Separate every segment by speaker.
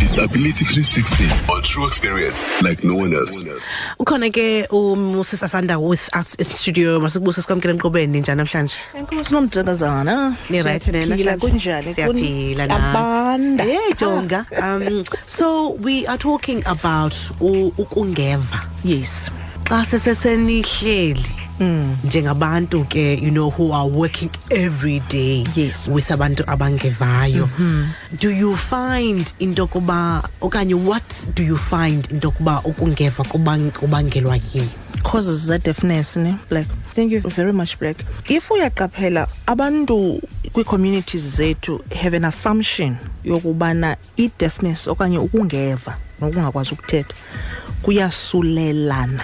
Speaker 1: Disability 360 or true experience like no one else.
Speaker 2: ukhona ke umusisasanda with us estudio masikubuse sikwamkele emqobeni njani namhlanje
Speaker 3: enkosi nomdakazana
Speaker 2: ni-right
Speaker 3: Siyaphila, kunjani Ah.
Speaker 2: siyaphila
Speaker 3: abanda
Speaker 2: ye jonga um so we are talking about u- ukungeva
Speaker 3: yes
Speaker 2: xa sesesenihleli
Speaker 3: Hmm.
Speaker 2: njengabantu ke you know who are working every day
Speaker 3: Yes. Mm-hmm.
Speaker 2: with abantu abangevayo do you find into yokuba okanye what do you find into yokuba ukungeva kubang- kubangelwa yiyo
Speaker 3: causes ze-deafness ne black thank you very much black if uyaqaphela abantu kwii-communities zethu have an assumption yokubana i-deafness okanye ukungeva nokungakwazi ukuthetha kuyasulelana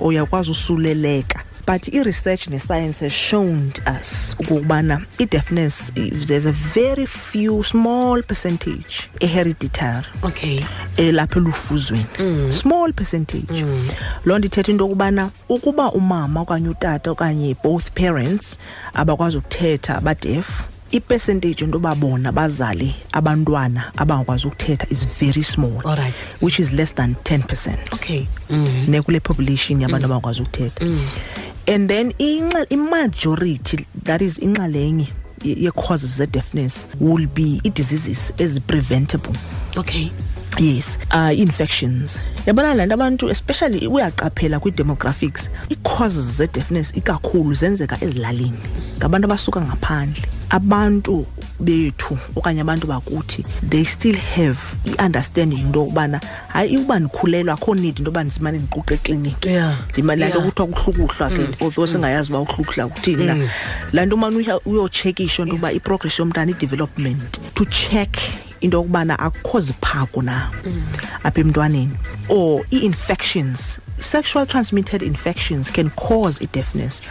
Speaker 3: uyakwazi usuleleka but i-research ne-science has shown us ukubana i-deafness i- there's a very few small percentage ehereditary
Speaker 2: okay
Speaker 3: elapha Eh, elufuzweni small percentage loo nto ithetha into yokubana ukuba umama okanye utata okanye both parents abakwazi ukuthetha badef ipercentage into yoba bona bazale abantwana abangakwazi ukuthetha is very small
Speaker 2: all right
Speaker 3: which is less than 10 percent
Speaker 2: okay mm.
Speaker 3: nekule population yabantu abangakwazi ukuthetha and then inxa- imajority that is inxalenye ye- yee-causes ze-deafness will be ii-diseases ezi-preventable
Speaker 2: okay
Speaker 3: yes uh infections yabona le nto abantu especially uyaqaphela kwi-demographics ii-causes ze-deafness ikakhulu zenzeka ezilalini ngabantu abasuka ngaphandle abantu bethu okanye abantu bakuthi they still have i-understanding into yokubana hayi ukuba ndikhulelwa akho need into yoba ndizimane ndiquqa ekliniki
Speaker 2: Yeah.
Speaker 3: Ndima- laa nto
Speaker 2: Yeah.
Speaker 3: kuthiwa kuhlukuhlwa ke although singayazi uba uhlukuhla kuthini na laa nto umane uya- uyotshekisha into yokuba iprogress yomntana i-development to check into yokubana akukho ziphako na apha emntwaneni or ii-infections sexual transmitted infections can cause i-deafness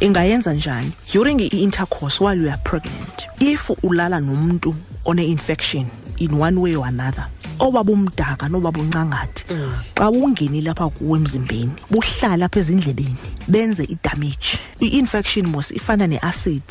Speaker 3: ingayenza njani during i-intercourse while you are pregnant if ulala nomntu one-infection in one way or another obaba umdaka nobaba uncangathi xa ungenile apha kuwe emzimbeni buhlala apha ezindlebeni benze idamage i-infection mos ifana ne-acid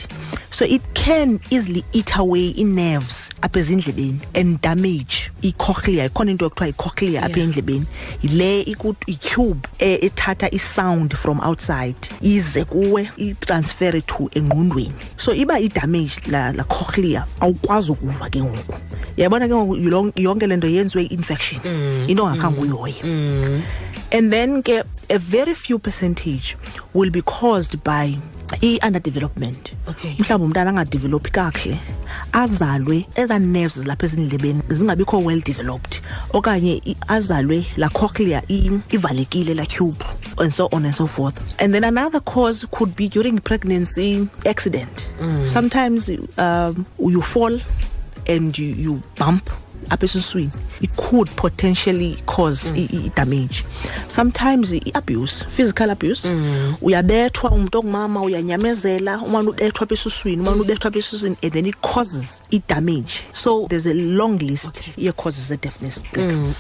Speaker 3: so it can easily eat away ii-nerves apha ezindlebeni and damage i-cochlea ikhona into ekuthiwa i-cochlea apha endlebeni yile iku- i-cube e- ethatha i-sound from outside ize kuwe itransfere to engqondweni so iba idamage la, la cochlea awukwazi ukuva ke ngoku yabona ke ngoku yilon- yonke le nto yenziwe i-infection into ongakhange uyihoye and then ke a very few percentage will be caused by i-underdevelopment
Speaker 2: Okay.
Speaker 3: mhlawumbi umntana angadevelophi kakuhle azalwe ezaa nerves zilapha ezindlebeni zingabikho well developed okanye i- azalwe la cochlea i- ivalekile la cube and so on and so forth and then another cause could be during pregnancy accident sometimes um, you fall and you, you bump apha esuswini it could potentially cause i- i- i-damage sometimes i-abuse physical abuse uyabethwa umntu ongumama uyanyamezela umane ubethwa apha esuswini umane ubethwa apha esuswini and then it causes i-damage so there's a long list yee-causes ze-deafness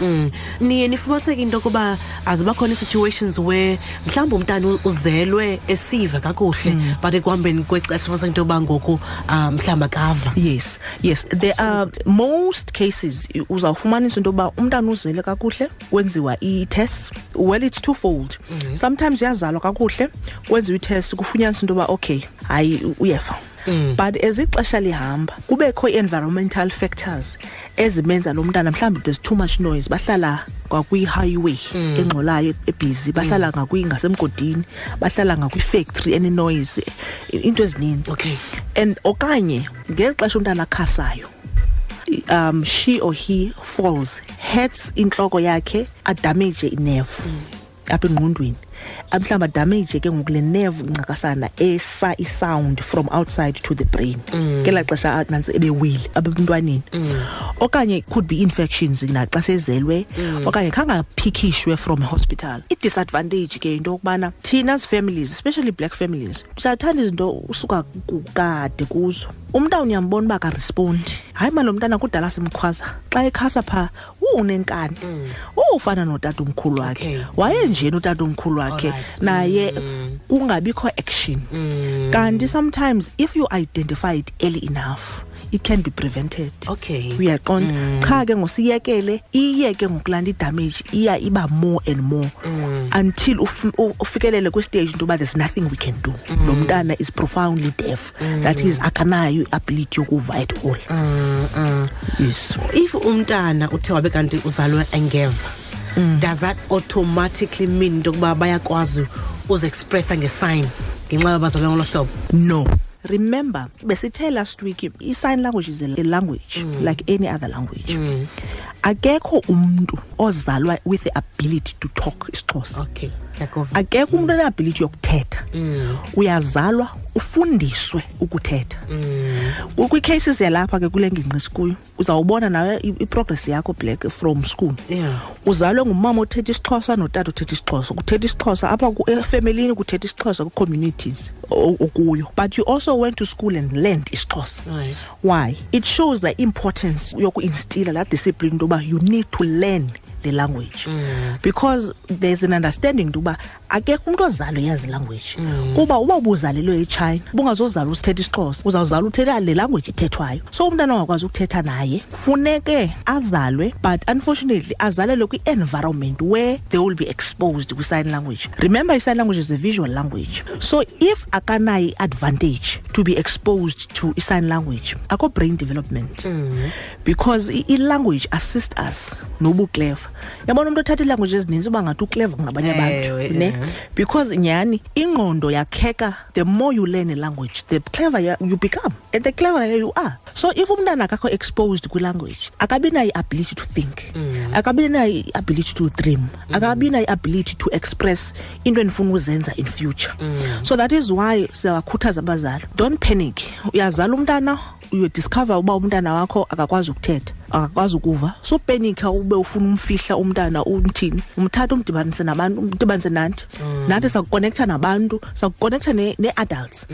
Speaker 2: Mm. niye nifumaniseke into yokuba aziba khona ii-situations where mhlawumbi umntana u- uzelwe esiva kakuhle but ekuhambeni kwexesha ufumaniseke into yoba ngoku um mhlawumbi akava
Speaker 3: yes yes there are most cases i- uzawufumanisa into yokuba umntana uzele kakuhle kwenziwa i-test well it's twofold sometimes uyazalwa kakuhle kwenziwa i-test kufunyaniswa into yoba okay hayi u- uyeva but as ixesha lihamba kubekho i-environmental factors ezimenza lo mntana mhlawumbi there's too much noise bahlala ngakwi-highway engxolayo ebhizi bahlala ngakwi- ngasemgodini bahlala ngakwifactory enenoise i- into ezininzi
Speaker 2: Okay.
Speaker 3: and okanye ngeli xesha umntana akhasayo i- um she or he falls hats intloko yakhe adamage inevu apha engqondweni Ah, mhlawumbi adamage ke ngoku le nevu incakasana esa isound from outside to the brain ngelaa xesha ah, nantsi ebewile apha emntwaneni okanye could be infections naxa sezelwe okanye khangaphikishwe from a hospital i-disadvantage ke into yokubana thina as families especially black families siyathanda izinto usuka ku- kade kuzo umntu awunyambona uba karespondi hayi ma lo mntana kudala simkhwaza xa ekhasa phaa "Wu, unenkani ufana notata umkhulu
Speaker 2: Okay.
Speaker 3: wakhe wayenjeni utata umkhulu wakhe
Speaker 2: Alright.
Speaker 3: naye kungabikho action kanti sometimes if you identify it early enough it can be prevented
Speaker 2: Okay.
Speaker 3: uyaqonda qha ke ngosiyekele iyeke ngokulanda idamage iya iba more and more until uf- u- ufikelele kwistage into yoba there's nothing we can do lo mntana is profoundly deaf that is akanayo iability yokuva at all yes
Speaker 2: if umntana uthe wabe kanti uzalwe engeva does that automatically mean into yokuba bayakwazi uziexpressa ngesign ngenxa yoba bazalwe ngolo hlobo
Speaker 3: no remember besithe last week i-sign language is a, a language like any other language akekho umntu ozalwa with the ability to talk isixhosa
Speaker 2: okay ndiyakuva
Speaker 3: akekho umntu eneability yokuthetha
Speaker 2: Mm,
Speaker 3: uyazalwa ufundiswe ukuthetha
Speaker 2: mm.
Speaker 3: Ku- kwi-cases yalapha ke kule ngingqi sikuyo uzawubona nawe i- i-progress yakho black from school
Speaker 2: Yeah.
Speaker 3: uzalwe ngumama othetha isixhosa notata othetha isixhosa kuthetha isixhosa apha ku- efemelini kuthetha isixhosa kwi-communities o- okuyo but you also went to school and learned isixhosa
Speaker 2: Right.
Speaker 3: why it shows the importance yokuinstila that discipline into yoba you need to learn the language because there's an understanding into yoba akekho umntu ozalwe yazi language kuba uba ubuzalelwe etshayina ubungazozala usithetha isixhosa uzawuzala uthetha le language ithethwayo so umntana ongakwazi ukuthetha naye funeke azalwe but unfortunately azalelwe kwi-environment where they will be exposed kwi-sign language remember i-sign language is a visual language so if akanayo i-advantage to be exposed to i-sign language akho brain development because i- i-language assist us nobukleva yabona umntu othatha ilanguage ezininzi uba ngathi ukleva ngabanye
Speaker 2: Ewe,
Speaker 3: abantu ne
Speaker 2: ewe.
Speaker 3: because nyhani ingqondo yakheka the more you learn a language the clever ya- you become and the cleverer you are so if umntana akakho exposed kwilanguage akabi nayo i-ability to think akabi nayo i-ability to dream akabi nayo i-ability to express into endifuna ukuzenza in future so that is why siyawakhuthaza abazali don't panic uyazala umntana uyodiscover uba umntana wakho akakwazi ukuthetha akakwazi ukuva so penika ube ufuna umfihla umntana umthini umthatha umdibanise nabantu umdibanise nathi nathi sakukonektha nabantu sakukonektha ne- nee-adults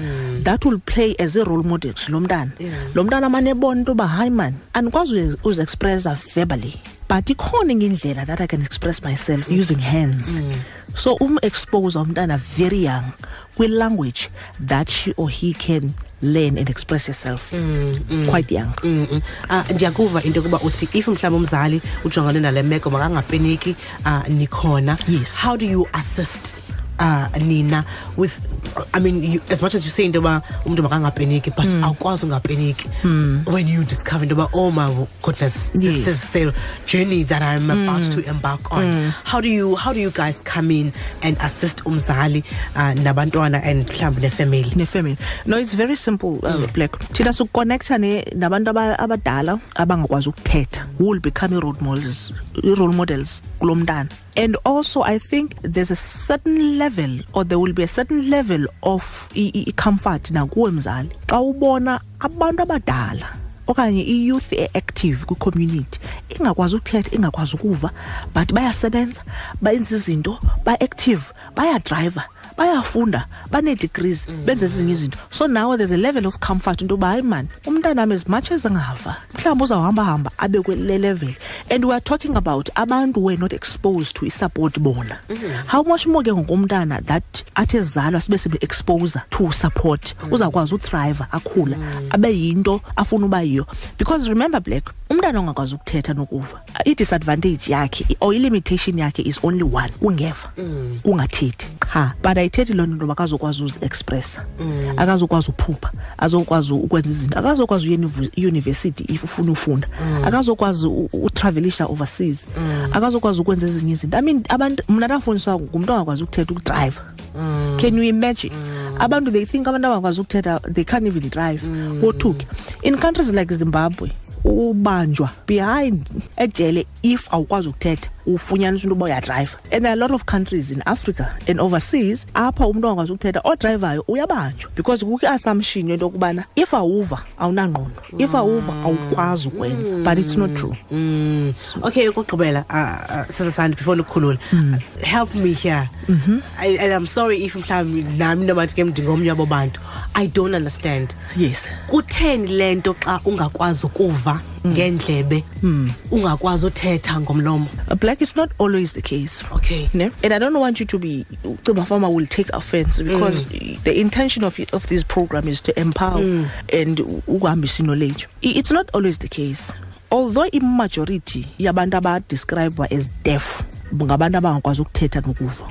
Speaker 3: that will play as i-role models lo mntana lo mntana amane ebona into yoba hayi mani andikwazi uziexpressa verbally but ikhona enye indlela that i can express myself using hands so umexpose umntana very young kwi-language that she or he can learn and express herself quite young
Speaker 2: Mm, mm. Ah, ndiyakuva into yokuba uthi if mhlawumbi umzali ujongane nale meko makangapeniki ah, nikhona
Speaker 3: Yes.
Speaker 2: how do you assist uh, nina with i mean you, as much as you say into yoba umntu makangapeniki but
Speaker 3: Mm.
Speaker 2: awukwazi ungapeniki when you discover into yoba oh my goodness this
Speaker 3: Yes. Mm.
Speaker 2: is the journey that i'm about to embark on how do you how do you guys come in and assist umzali uh, nabantwana and mhlawumbi nefemeli
Speaker 3: nefemini no it's very simple uh, black thina sikukonektha ne- nabantu aba- abadala abangakwazi ukuthetha who will become i-role models i-role models kulo mntana and also i think there's a certain level or there will be a certain level of i- i- i-comfort nakuwe mzali xa ubona abantu abadala okanye i-youth e-active kwi-community ingakwazi ukuthetha ingakwazi ukuva but bayasebenza benza izinto ba-active bayadrayiva bayafunda banee-degrees benze ezinye izinto so now there's a level of comfort into yoba hayi mani umntanam as much as angava mhlawumbi uzawuhambahamba abe kwele level and weare talking about abantu were not exposed to isupport bona how much more ke ngokumntana that athi ezalwa sibe sibe-exposa to support uzawukwazi uthriva akhula abe yinto afuna uba yiyo because remember black umntana ongakwazi ukuthetha nokuva i-disadvantage yakhe i- or i-limitation yakhe is only one kungeva kungathethi qha but ayithethi loo nto intoba akazokwazi uziexpressa akazokwazi uphupha azokwazi ukwenza izinto akazokwazi uya eunivu- iyunivesithi if ufuna ufunda akazokwazi u- u- utravelisha overseas akazokwazi ukwenza ezinye izinto i mean abantu mna ndafundiswa ngumntu ongakwazi ukuthetha ukudrayiva can you imagine abantu they think abantu abangakwazi ukuthetha they can't even drive wothuke in countries like zimbabwe ubanjwa behind ejele if awukwazi ukuthetha ufunyaniswa into uba uyadrayiva and there are a lot of countries in africa and overseas apha umntu angakwazi ukuthetha odrayivayo uyabanjwa because kukwi-assumption yento yokubana if awuva awunangqondo if awuva awukwazi ukwenza but it's not true
Speaker 2: Mm. okay ukugqibela uh, uh, sasasandi before ndikhulule Uh, help me here I, and i'm sorry if mhlawumbi nami nobathi ke mndingomnye wabo bantu i don't understand
Speaker 3: yes
Speaker 2: kutheni le nto xa ungakwazi ukuva ngendlebe ungakwazi uthetha ngomlomo
Speaker 3: Uh, black is not always the case
Speaker 2: okay
Speaker 3: you know? and i don't want you to be ucinga farmer will take offense because the intention of, it, of this program is to empower and ukuhambisa knowledge it's not always the case although imajority yabantu abadescribwa as deaf ngabantu abangakwazi ukuthetha nokuva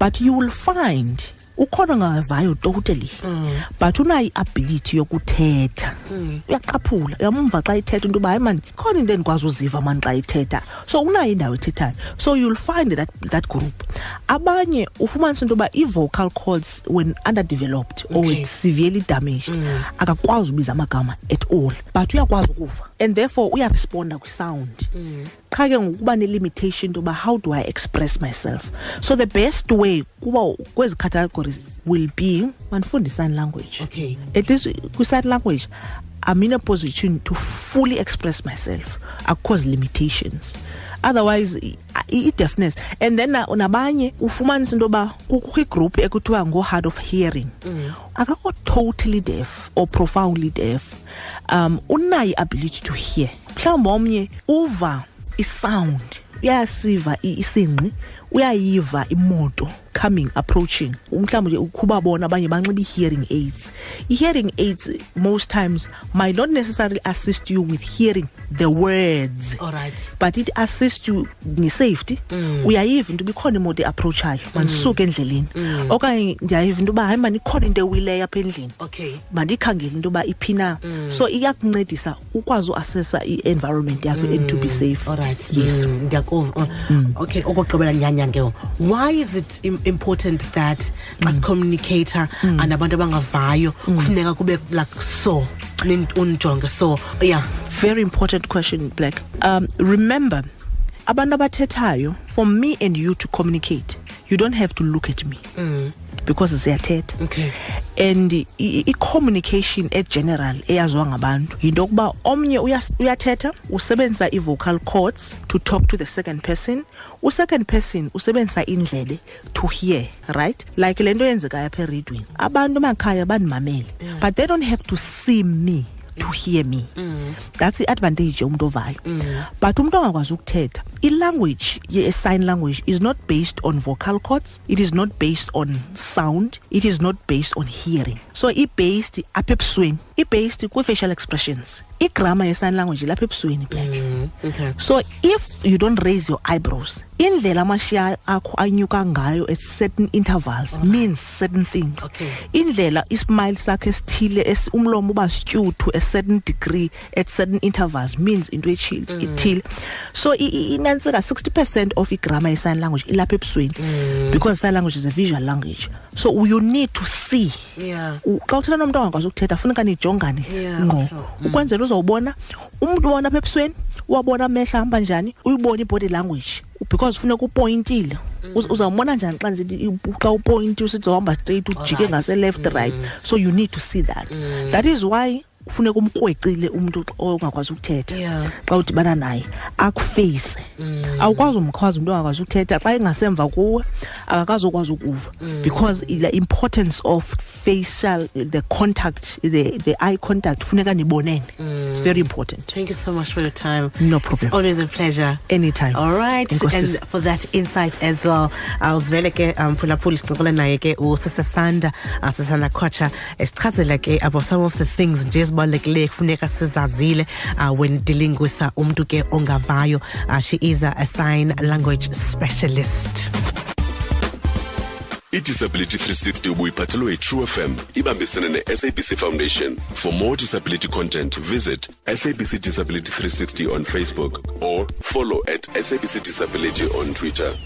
Speaker 3: but you will find ukhona ongayivayo totally but unayo iability yokuthetha uyaqaphula uyamva xa ithetha into yoba hayi mani khona into endikwazi uziva mani xa ithetha so unayo indawo ethethayo so you'll find that, that group abanye ufumanise into yoba i-vocal cords when underdeveloped or
Speaker 2: Okay. Mm.
Speaker 3: with severely damaged akakwazi ubiza amagama at all but uyakwazi ukuva and therefore uyaresponda kwisound
Speaker 2: Mm.
Speaker 3: qha ke ngokuba ne-limitation into yoba how do i express myself so the best way kuba kwezi categories will be mandifunde i-sign language
Speaker 2: Okay.
Speaker 3: at least kwi-sign language i'm in a position to fully express myself akukho limitations otherwise i- i- i-deafness and then na- nabanye ufumanise into yoba kukho igroup ekuthiwa ngoo-hard of hearing akakho totally deaf or profoundly deaf um unayo i-ability to hear mhlawumbi omnye uva isound uyasiva i- isingqi uyayiva imoto coming approaching mhlawumbi nje ukuba bona abanye banxiba i-hearing aids i-hearing aids most times might not necessarily assist you with hearing the words
Speaker 2: allright
Speaker 3: but it assist you nge-safety uyayiva into bikhona imoto eapproatshayo mandisuke endleleni okanye ndiyayiva into yoba hayi mani ikhona into ewileyo apha endlini
Speaker 2: okay
Speaker 3: mandiyikhangele into yoba iphi na so iyakuncedisa ukwazi uassesa i-environment yakho and to be safe
Speaker 2: allright
Speaker 3: yes Mm.
Speaker 2: Mm, ndiyakuva Oh, okay okokugqibela nyanya ke why is it im important that
Speaker 3: Mm.
Speaker 2: xa sicommunicator nabantu abangavayo kufuneka kube like so nin- unijonge so yeah
Speaker 3: very important question black um, remember abantu abathethayo for me and you to communicate you don't have to look at me because ziyathetha
Speaker 2: okay
Speaker 3: and i- i- i-communication egeneral eyaziwa ngabantu yinto yokuba omnye uyas- uyathetha usebenzisa i-vocal cords to talk to the second person usecond person usebenzisa indlebe to hear right like le nto yenzekayo apha eredweni abantu emakhaya bandimamele but they don't have to see me to hear me that's i-advantage yomntu ovayo but umntu angakwazi ukuthetha ilanguage ye-sign language is not based on vocal cords it is not based on sound it is not based on hearing so i-based apha ebusweni i-based kwi-facial expressions igrama ye-sign language ilapha ebusweni black
Speaker 2: okay
Speaker 3: so if you don't raise your eyebrows indlela amashiya akho anyuka ngayo at certain intervals means certain things
Speaker 2: Okay.
Speaker 3: indlela ismile sakho esithile es- umlomo uba styuthu a certain degree at certain intervals means into ethile ithile so i- i- inantsika 60 percent of igrama yesign language ilapha ebusweni because sign language is a visual language so you need to see
Speaker 2: yeah
Speaker 3: U- xa uthetha nomntu angakwazi ukuthetha funeka nijongane
Speaker 2: Yeah,
Speaker 3: ngqo
Speaker 2: sure.
Speaker 3: ukwenzela uzawubona umntu ubona apha ebusweni uwabona amehla ahamba njani uyibone i-body language because funeka upoyintile Uz- uzawumbona njani xa ndisithi i- xa upoyinti usithi uhamba straight ujike
Speaker 2: Alright.
Speaker 3: ngase-left right so you need to see that that is why funeka umkrwecile umntu ongakwazi ukuthetha
Speaker 2: Yeah.
Speaker 3: xa udibana naye akufeyise
Speaker 2: Mm.
Speaker 3: awukwazi umkhwazi umntu angakwazi ukuthetha xa engasemva kuwe akakwazi ukwazi ukuva
Speaker 2: Mm.
Speaker 3: because i- the importance of facial the contact the, the eye contact funeka nibonene
Speaker 2: Mm.
Speaker 3: it's very important
Speaker 2: thank you so much for your time
Speaker 3: No problem.
Speaker 2: it's always a pleasure
Speaker 3: anytime
Speaker 2: all right
Speaker 3: Enkosisi.
Speaker 2: and for that insight as well um, awuzivele ke mphulaphula sincokole naye ke usisa sanda uh, sisanda khotsha esichazela ke uh, about some of the things nje ezibalulekileyo kufuneka sizazile uh, when dealing with uh, umntu ke ongavayo uh, she is a, a sign language specialist
Speaker 1: idisability 360 ubuyiphathelwe yitrue fm ibambisene ne-sabc foundation for more disability content visit sabc disability 360 on facebook or follow at sabc disability on twitter